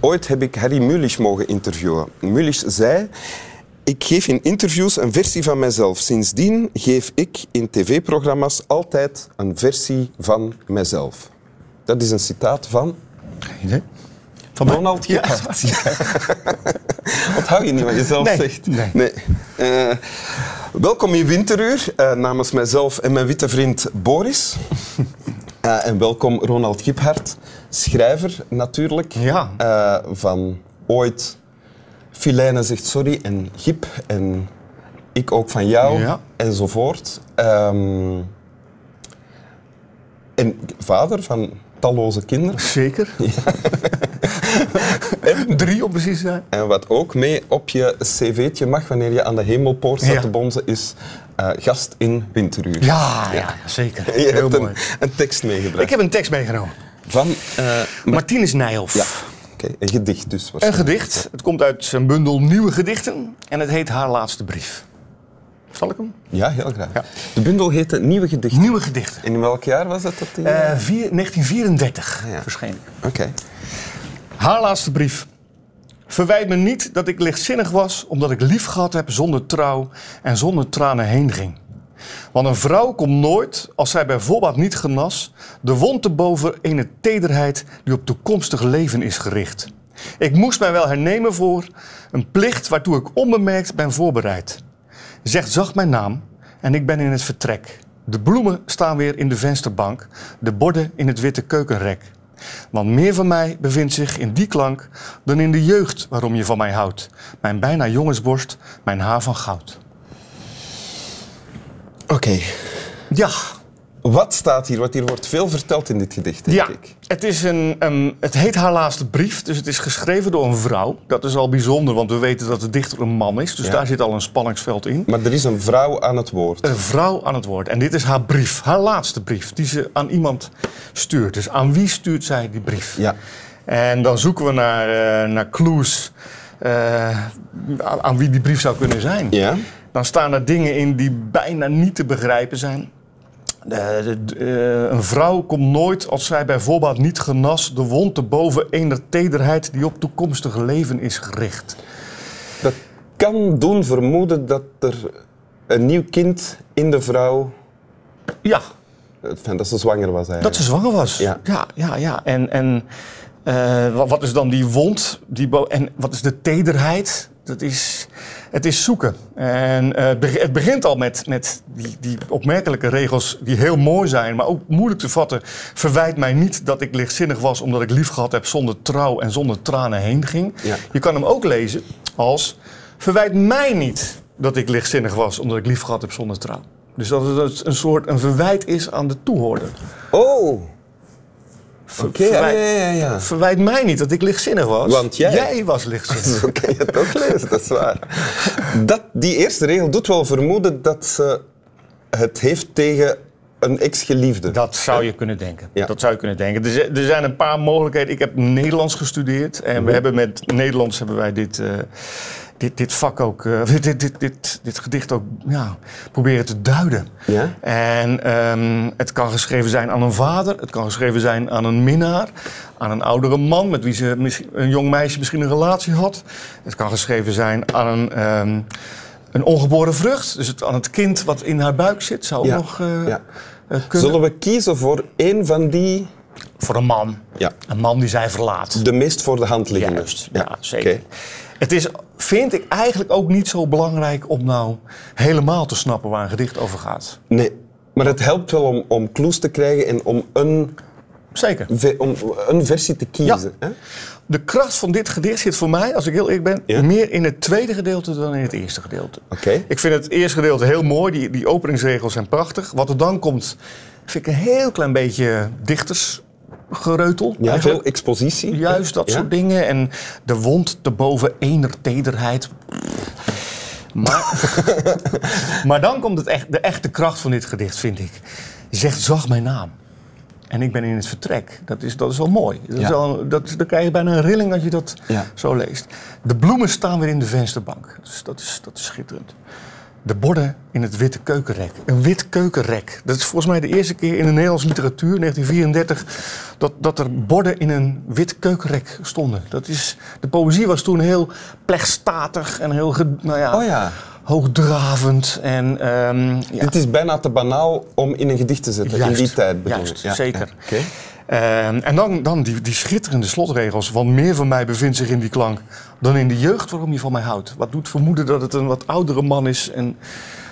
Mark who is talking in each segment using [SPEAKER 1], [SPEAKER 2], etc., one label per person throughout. [SPEAKER 1] ooit heb ik Harry Mulisch mogen interviewen. Mulisch zei... Ik geef in interviews een versie van mezelf. Sindsdien geef ik in tv-programma's altijd een versie van mezelf. Dat is een citaat van
[SPEAKER 2] Geen idee. Van mij?
[SPEAKER 1] Ronald Gephardt. Onthoud je niet wat je zelf
[SPEAKER 2] Nee,
[SPEAKER 1] zegt?
[SPEAKER 2] nee.
[SPEAKER 1] Eh, welkom in Winteruur eh, namens mijzelf en mijn witte vriend Boris. Eh, en welkom Ronald Giphart, schrijver natuurlijk.
[SPEAKER 2] Ja.
[SPEAKER 1] Eh, van ooit Filijnen zegt sorry en Gip en ik ook van jou
[SPEAKER 2] Ja.
[SPEAKER 1] enzovoort. Ehm, en vader van talloze kinderen.
[SPEAKER 2] Zeker. Drie om precies te zijn.
[SPEAKER 1] En wat ook mee op je cv'tje mag wanneer je aan de hemelpoort staat
[SPEAKER 2] Ja.
[SPEAKER 1] te bonzen, is eh, gast in winteruur.
[SPEAKER 2] Ja, ja, zeker.
[SPEAKER 1] Je
[SPEAKER 2] Heel
[SPEAKER 1] hebt
[SPEAKER 2] mooi.
[SPEAKER 1] een, een tekst
[SPEAKER 2] Ik
[SPEAKER 1] meegebracht.
[SPEAKER 2] heb een tekst meegenomen.
[SPEAKER 1] Van, eh,
[SPEAKER 2] Martinus Nijhoff.
[SPEAKER 1] ja, oké, een gedicht dus.
[SPEAKER 2] Een
[SPEAKER 1] waarschijnlijk.
[SPEAKER 2] gedicht. Het komt uit een bundel nieuwe gedichten. En het heet Haar Laatste Brief. Zal ik hem?
[SPEAKER 1] Ja, heel graag.
[SPEAKER 2] Ja.
[SPEAKER 1] De bundel heette Nieuwe Gedichten.
[SPEAKER 2] Nieuwe gedichten.
[SPEAKER 1] En in welk jaar was dat? dat die-
[SPEAKER 2] Eh, vier- 1934
[SPEAKER 1] ja.
[SPEAKER 2] verschenen.
[SPEAKER 1] Oké.
[SPEAKER 2] Haar laatste brief. Verwijt me niet dat ik lichtzinnig was omdat ik lief gehad heb zonder trouw en zonder tranen heen ging. Want een vrouw komt nooit, als zij bijvoorbeeld niet genas, de wond te boven ene tederheid die op toekomstig leven is gericht. Ik moest mij wel hernemen voor een plicht waartoe ik onbemerkt ben voorbereid. Zegt zacht mijn naam en ik ben in het vertrek. De bloemen staan weer in de vensterbank, de borden in het witte keukenrek. Want meer van mij bevindt zich in die klank dan in de jeugd waarom je van mij houdt. Mijn bijna jongensborst, mijn haar van goud.
[SPEAKER 1] Oké.
[SPEAKER 2] Ja,
[SPEAKER 1] Wat staat hier? Want hier wordt veel verteld in dit gedicht, denk
[SPEAKER 2] ja.
[SPEAKER 1] ik.
[SPEAKER 2] Het, is een, ehm, het heet haar laatste brief, dus het is geschreven door een vrouw. Dat is al bijzonder, want we weten dat de dichter een man is. Dus
[SPEAKER 1] Ja.
[SPEAKER 2] daar zit al een spanningsveld in.
[SPEAKER 1] Maar er is een vrouw aan het woord.
[SPEAKER 2] Een vrouw aan het woord. En dit is haar brief, haar laatste brief, die ze aan iemand stuurt. Dus aan wie stuurt zij die brief?
[SPEAKER 1] Ja.
[SPEAKER 2] En dan zoeken we naar, eh, naar clues eh, aan, aan wie die brief zou kunnen zijn.
[SPEAKER 1] Ja?
[SPEAKER 2] Dan staan er dingen in die bijna niet te begrijpen zijn. Eh, de- de- eh, een vrouw komt nooit als zij bijvoorbeeld niet genas de wond te boven ener tederheid die op toekomstig leven is gericht.
[SPEAKER 1] Dat kan doen vermoeden dat er een nieuw kind in de vrouw eh,
[SPEAKER 2] Ja,
[SPEAKER 1] Enfin, dat ze zwanger was eigenlijk.
[SPEAKER 2] dat ze zwanger was.
[SPEAKER 1] eh, Ja.
[SPEAKER 2] ja, ja. ja. En, en eh, wa- wat is dan die wond? Die bo- en wat is de tederheid? Dat is, het is zoeken. En eh, het beg- het begint al met, met die, die opmerkelijke regels die heel mooi zijn, maar ook moeilijk te vatten. Verwijt mij niet dat ik lichtzinnig was omdat ik lief gehad heb zonder trouw en zonder tranen heen ging.
[SPEAKER 1] Ja.
[SPEAKER 2] Je kan hem ook lezen als verwijt mij niet dat ik lichtzinnig was omdat ik lief gehad heb zonder trouw. Dus dat het een soort een verwijt is aan de toehoorder.
[SPEAKER 1] Oh,
[SPEAKER 2] Ver-
[SPEAKER 1] oké. Ja,
[SPEAKER 2] verwijt,
[SPEAKER 1] ja, ja. ja.
[SPEAKER 2] verwijt mij niet dat ik lichtzinnig was.
[SPEAKER 1] Want jij-
[SPEAKER 2] was lichtzinnig.
[SPEAKER 1] Zo kan je het ook lezen, dat is waar. Dat, die eerste regel doet wel vermoeden dat ze het heeft tegen een ex-geliefde.
[SPEAKER 2] Dat zou je kunnen denken.
[SPEAKER 1] Ja.
[SPEAKER 2] Dat zou je kunnen denken. Er, zi- er zijn een paar mogelijkheden. Ik heb Nederlands gestudeerd. En
[SPEAKER 1] Mhm.
[SPEAKER 2] we hebben met Nederlands hebben wij dit, eh, dit, dit vak ook... eh, dit, dit, dit, dit, dit gedicht ook ja, proberen te duiden.
[SPEAKER 1] Ja?
[SPEAKER 2] En ehm, het kan geschreven zijn aan een vader, het kan geschreven zijn aan een minnaar, aan een oudere man met wie ze mis- een jong meisje misschien een relatie had. Het kan geschreven zijn aan een, ehm, een ongeboren vrucht, dus het, aan het kind wat in haar buik zit, zou ook
[SPEAKER 1] Ja,
[SPEAKER 2] nog eh,
[SPEAKER 1] ja.
[SPEAKER 2] eh, kunnen.
[SPEAKER 1] Zullen we kiezen voor één van die,
[SPEAKER 2] Voor een man,
[SPEAKER 1] Ja.
[SPEAKER 2] een man die zij verlaat.
[SPEAKER 1] de meest voor de hand liggende?
[SPEAKER 2] Juist, ja, zeker.
[SPEAKER 1] oké.
[SPEAKER 2] Het is, vind ik eigenlijk ook niet zo belangrijk om nou helemaal te snappen waar een gedicht over gaat.
[SPEAKER 1] Nee, maar het helpt wel om, om clues te krijgen en om een,
[SPEAKER 2] Zeker.
[SPEAKER 1] ve- om een versie te kiezen. hè?
[SPEAKER 2] De kracht van dit gedicht zit voor mij, als ik heel eerlijk ben,
[SPEAKER 1] Ja.
[SPEAKER 2] meer in het tweede gedeelte dan in het eerste gedeelte.
[SPEAKER 1] Oké.
[SPEAKER 2] Ik vind het eerste gedeelte heel mooi, die, die openingsregels zijn prachtig. Wat er dan komt, vind ik een heel klein beetje dichtersgereutel.
[SPEAKER 1] Ja,
[SPEAKER 2] eigenlijk.
[SPEAKER 1] veel expositie.
[SPEAKER 2] Juist dat
[SPEAKER 1] Ja?
[SPEAKER 2] soort dingen. En de wond te boven ener tederheid. Maar, maar dan komt het echt, de echte kracht van dit gedicht, vind ik. Zegt zag mijn naam. En ik ben in het vertrek. Dat is, dat is wel mooi. Dat is
[SPEAKER 1] Ja.
[SPEAKER 2] wel, dat, dan krijg je bijna een rilling als je dat
[SPEAKER 1] Ja.
[SPEAKER 2] zo leest. De bloemen staan weer in de vensterbank. Dus dat is, dat is schitterend. De borden in het witte keukenrek. Een wit keukenrek. Dat is volgens mij de eerste keer in de Nederlandse literatuur, 1934, dat, dat er borden in een wit keukenrek stonden. Dat is, de poëzie was toen heel plechtstatig en heel ge- nou ja,
[SPEAKER 1] Oh ja.
[SPEAKER 2] hoogdravend. En, ehm, ja.
[SPEAKER 1] Dit is bijna te banaal om in een gedicht te zetten
[SPEAKER 2] Juist,
[SPEAKER 1] in die tijd. bedoel ik.
[SPEAKER 2] juist,
[SPEAKER 1] Ja,
[SPEAKER 2] zeker.
[SPEAKER 1] ja. Oké.
[SPEAKER 2] Ehm, en dan, dan die, die schitterende slotregels. Want meer van mij bevindt zich in die klank dan in de jeugd waarom je van mij houdt. Wat doet vermoeden dat het een wat oudere man is en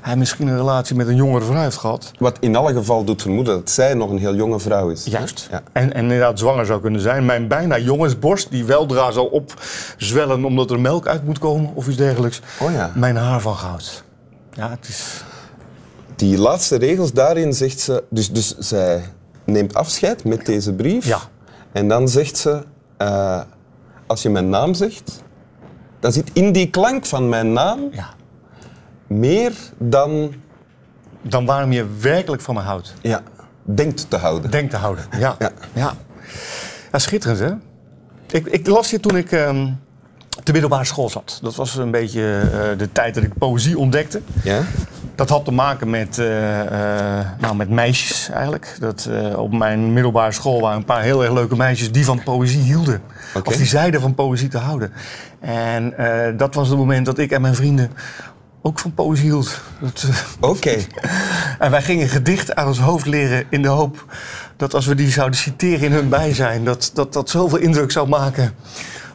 [SPEAKER 2] hij misschien een relatie met een jongere vrouw heeft gehad.
[SPEAKER 1] Wat in alle geval doet vermoeden dat zij nog een heel jonge vrouw is.
[SPEAKER 2] Juist.
[SPEAKER 1] Ja.
[SPEAKER 2] En, en inderdaad zwanger zou kunnen zijn. Mijn bijna jongensborst, die weldra zal opzwellen omdat er melk uit moet komen of iets dergelijks.
[SPEAKER 1] Oh ja.
[SPEAKER 2] Mijn haar van goud. Ja, het is...
[SPEAKER 1] Die laatste regels daarin zegt ze... Dus, dus zij neemt afscheid met deze brief.
[SPEAKER 2] Ja.
[SPEAKER 1] En dan zegt ze... eh, als je mijn naam zegt... Dan zit in die klank van mijn naam
[SPEAKER 2] Ja.
[SPEAKER 1] meer dan
[SPEAKER 2] Dan waarom je werkelijk van me houdt.
[SPEAKER 1] ja, denkt te houden.
[SPEAKER 2] Denk te houden. Ja. ja. ja. schitterend, hè? Ik, ik las dit toen ik ehm de middelbare school zat. Dat was een beetje eh, de tijd dat ik poëzie ontdekte.
[SPEAKER 1] Ja?
[SPEAKER 2] Dat had te maken met, eh, eh, nou, met meisjes eigenlijk. Dat, eh, op mijn middelbare school waren een paar heel erg leuke meisjes die van poëzie hielden.
[SPEAKER 1] Oké.
[SPEAKER 2] Of die zeiden van poëzie te houden. En eh, dat was het moment dat ik en mijn vrienden ook van poëzie hielden. Dat, eh,
[SPEAKER 1] Oké.
[SPEAKER 2] en wij gingen gedichten aan ons hoofd leren in de hoop dat als we die zouden citeren in hun bijzijn, dat dat, dat zoveel indruk zou maken.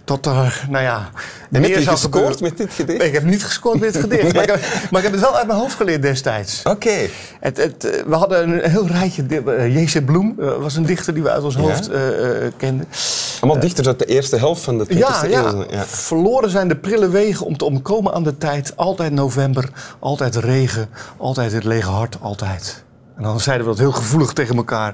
[SPEAKER 2] Dat er, nou ja,
[SPEAKER 1] En heb
[SPEAKER 2] meer
[SPEAKER 1] je
[SPEAKER 2] zou
[SPEAKER 1] gescoord
[SPEAKER 2] gebeuren.
[SPEAKER 1] met dit gedicht?
[SPEAKER 2] Ik heb niet gescoord met het gedicht, maar, ik heb, maar ik heb het wel uit mijn hoofd geleerd destijds.
[SPEAKER 1] Oké.
[SPEAKER 2] Het, het, eh, we hadden een heel rijtje. di- eh, J.C. Bloem eh, was een dichter die we uit ons hoofd eh, eh, kenden.
[SPEAKER 1] Allemaal dichters uit de eerste helft van de 20e
[SPEAKER 2] Eh. Ja, ja.
[SPEAKER 1] eeuw. Ja.
[SPEAKER 2] Verloren zijn de prille wegen om te omkomen aan de tijd. Altijd november, altijd regen, altijd het lege hart, altijd. En dan zeiden we dat heel gevoelig tegen elkaar.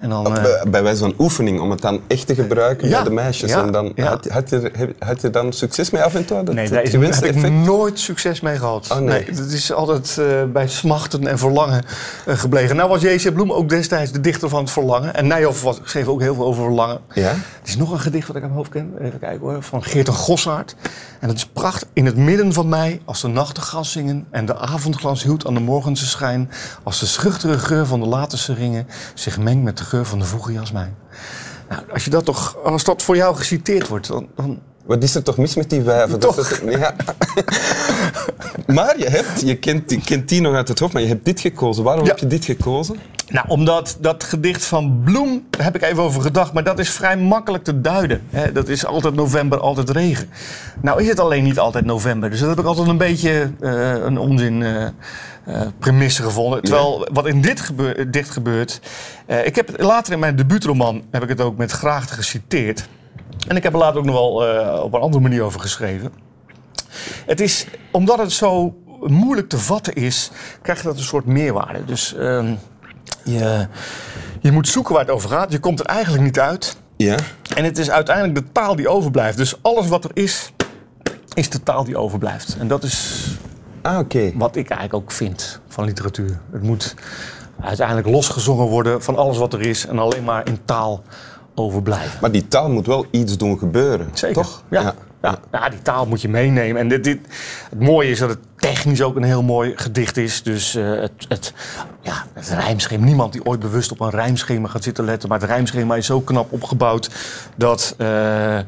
[SPEAKER 2] En dan, eh,
[SPEAKER 1] Bij- Bij wijze van oefening, om het dan echt te gebruiken
[SPEAKER 2] Ja,
[SPEAKER 1] bij de meisjes.
[SPEAKER 2] ja,
[SPEAKER 1] en dan,
[SPEAKER 2] ja.
[SPEAKER 1] had, had, je, heb- had je dan succes mee af en toe? Dat,
[SPEAKER 2] nee,
[SPEAKER 1] het
[SPEAKER 2] daar is,
[SPEAKER 1] gewenste
[SPEAKER 2] heb ik
[SPEAKER 1] effect?
[SPEAKER 2] nooit succes mee gehad.
[SPEAKER 1] Oh, nee.
[SPEAKER 2] dat is altijd eh, bij smachten en verlangen eh, gebleven. Nou was J.C. Bloem ook destijds de dichter van het verlangen. En Nijhoff was, schreef ook heel veel over verlangen.
[SPEAKER 1] Ja?
[SPEAKER 2] Er is nog een gedicht wat ik aan mijn hoofd ken. Even kijken hoor. Van Geert en Gossaard. En dat is prachtig. In het midden van mij, als de nachtegaal zingen... en de avondglans hield aan de morgense schijn... als de schuchtere geur van de late seringen... zich mengt met de geur van de vroege jasmijn. Nou, als, je dat toch, als dat voor jou geciteerd wordt, dan... dan
[SPEAKER 1] Wat is er toch mis met die wijven? Dat
[SPEAKER 2] Toch.
[SPEAKER 1] is het- ja. maar je, hebt, je, kent, je kent die nog uit het hoofd, maar je hebt dit gekozen. Waarom
[SPEAKER 2] Ja.
[SPEAKER 1] heb je dit gekozen?
[SPEAKER 2] Nou, omdat dat gedicht van Bloem, daar heb ik even over gedacht, maar dat is vrij makkelijk te duiden. Hè? Dat is altijd november, altijd regen. Nou is het alleen niet altijd november, dus dat heb ik altijd een beetje eh, een onzin eh, eh, premisse gevonden. Terwijl wat in dit gebeur- eh, dicht gebeurt, eh, ik heb het later in mijn debuutroman heb ik het ook met graagte geciteerd. En ik heb er later ook nog wel eh, op een andere manier over geschreven. Het is, omdat het zo moeilijk te vatten is, krijg je dat een soort meerwaarde. Dus ehm, je, je moet zoeken waar het over gaat. Je komt er eigenlijk niet uit.
[SPEAKER 1] Ja.
[SPEAKER 2] En het is uiteindelijk de taal die overblijft. Dus alles wat er is, is de taal die overblijft. En dat is
[SPEAKER 1] Ah, oké.
[SPEAKER 2] wat ik eigenlijk ook vind van literatuur. Het moet uiteindelijk losgezongen worden van alles wat er is en alleen maar in taal overblijven.
[SPEAKER 1] Maar die taal moet wel iets doen gebeuren,
[SPEAKER 2] Zeker.
[SPEAKER 1] toch?
[SPEAKER 2] Ja. Ja. Ja, nou, die taal moet je meenemen. En dit, dit, het mooie is dat het technisch ook een heel mooi gedicht is. Dus eh, het, het, ja, het rijmschema. Niemand die ooit bewust op een rijmschema gaat zitten letten. Maar het rijmschema is zo knap opgebouwd dat eh,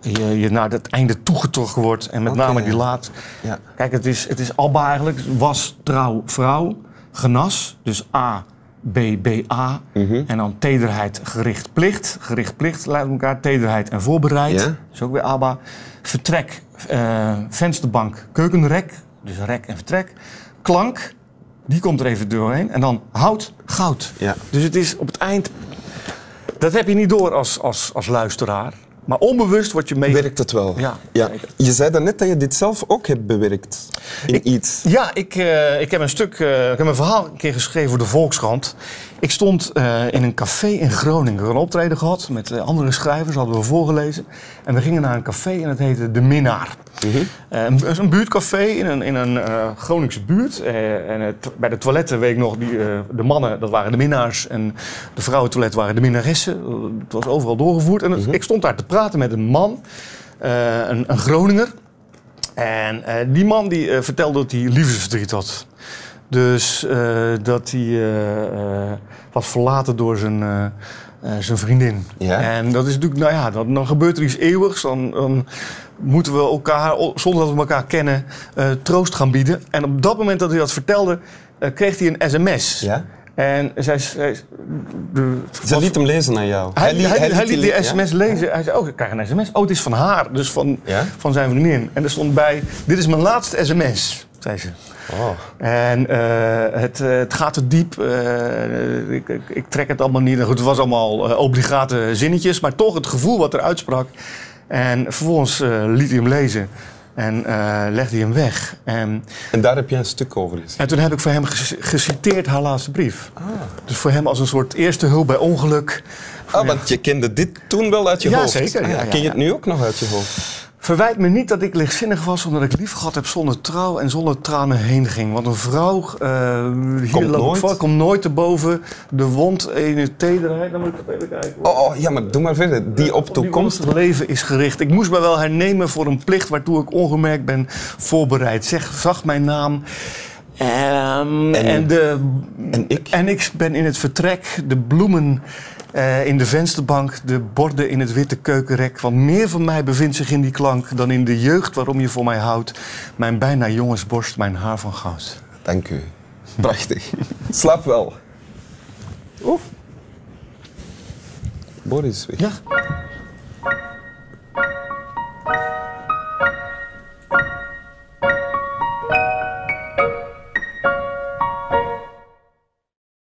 [SPEAKER 2] je, je naar het einde toegetrokken wordt. En met
[SPEAKER 1] Oké,
[SPEAKER 2] name die
[SPEAKER 1] ja.
[SPEAKER 2] laat.
[SPEAKER 1] Ja.
[SPEAKER 2] Kijk, het is, het is Alba eigenlijk. Was, trouw, vrouw, genas. Dus A, B, B, A.
[SPEAKER 1] Mhm.
[SPEAKER 2] En dan tederheid, gericht, plicht. Gericht, plicht, laat elkaar. Tederheid en voorbereid.
[SPEAKER 1] Ja.
[SPEAKER 2] Dus ook weer ABBA. Vertrek, eh, vensterbank, keukenrek. Dus rek en vertrek. Klank, die komt er even doorheen. En dan hout, goud.
[SPEAKER 1] Ja.
[SPEAKER 2] Dus het is op het eind... Dat heb je niet door als, als, als luisteraar. Maar onbewust word je mee...
[SPEAKER 1] Werkt het wel?
[SPEAKER 2] Ja, zeker.
[SPEAKER 1] Je zei daarnet dat je dit zelf ook hebt bewerkt in iets.
[SPEAKER 2] Ja, ik, eh, ik heb een stuk, eh, ik heb een verhaal een keer geschreven voor de Volkskrant. Ik stond eh, in een café in Groningen. We hadden een optreden gehad met eh, andere schrijvers, hadden we voorgelezen. En we gingen naar een café en het heette De Minnaar.
[SPEAKER 1] Mhm.
[SPEAKER 2] Eh, een, het is een buurtcafé in een, in een eh, Groningse buurt. Eh, en het- bij de toiletten weet ik nog, die, eh, de mannen dat waren de minnaars en de vrouwentoilet waren de minnaressen. Eh, Het was overal doorgevoerd. En het- ik stond daar te praten met een man, eh, een, een Groninger. En eh, die man die eh, vertelde dat hij liefdesverdriet had. Dus eh, dat hij eh, eh, was verlaten door zijn, eh, eh, zijn vriendin.
[SPEAKER 1] Ja.
[SPEAKER 2] En dat is natuurlijk, nou ja, dan, dan gebeurt er iets eeuwigs. Dan, dan moeten we elkaar, o- zonder dat we elkaar kennen, eh, troost gaan bieden. En op dat moment dat hij dat vertelde, eh, kreeg hij een sms.
[SPEAKER 1] Ja?
[SPEAKER 2] En zij, zij, de-
[SPEAKER 1] Ze liet hem lezen aan jou.
[SPEAKER 2] hij, hij, hij,
[SPEAKER 1] die
[SPEAKER 2] liet
[SPEAKER 1] le- ja.
[SPEAKER 2] die sms lezen. Hij zei, oh, ik krijg een sms. Oh, het is van haar, dus van,
[SPEAKER 1] Ja?
[SPEAKER 2] van zijn vriendin. En er stond bij, dit is mijn laatste sms, zei ze.
[SPEAKER 1] Oh.
[SPEAKER 2] En eh, het, eh, het gaat te diep. eh, ik, ik, ik trek het allemaal niet. Goed, het was allemaal eh, obligate zinnetjes. Maar toch het gevoel wat er uitsprak. En vervolgens eh, liet hij hem lezen. En eh, legde hij hem weg. En,
[SPEAKER 1] En daar heb jij een stuk over gezien.
[SPEAKER 2] en toen heb ik voor hem ges- geciteerd haar laatste brief. Dus voor hem als een soort eerste hulp bij ongeluk.
[SPEAKER 1] Ah, want je kende dit toen wel uit je
[SPEAKER 2] Ja,
[SPEAKER 1] hoofd.
[SPEAKER 2] zeker.
[SPEAKER 1] Ah,
[SPEAKER 2] Ja, ja,
[SPEAKER 1] Ken je
[SPEAKER 2] ja.
[SPEAKER 1] het nu ook nog uit je hoofd?
[SPEAKER 2] Verwijt me niet dat ik lichtzinnig was omdat ik lief gehad heb zonder trouw en zonder tranen heen ging. Want een vrouw eh, hier
[SPEAKER 1] Komt
[SPEAKER 2] loopt
[SPEAKER 1] nooit.
[SPEAKER 2] voor, komt nooit te boven de wond in het tederheid. Dan moet ik het even kijken. hoor.
[SPEAKER 1] Oh, oh, ja, maar doe maar verder. Die op
[SPEAKER 2] Die wond
[SPEAKER 1] toekomst.
[SPEAKER 2] het leven is gericht. Ik moest me wel hernemen voor een plicht waartoe ik ongemerkt ben voorbereid. Zeg, zag mijn naam. Ehm, en, de,
[SPEAKER 1] en ik?
[SPEAKER 2] en ik ben in het vertrek, de bloemen eh, in de vensterbank, de borden in het witte keukenrek. Want meer van mij bevindt zich in die klank dan in de jeugd waarom je voor mij houdt. Mijn bijna jongensborst, mijn haar van goud.
[SPEAKER 1] Dank u. Prachtig. Slaap wel. Oef. Boris is weg.
[SPEAKER 2] Ja.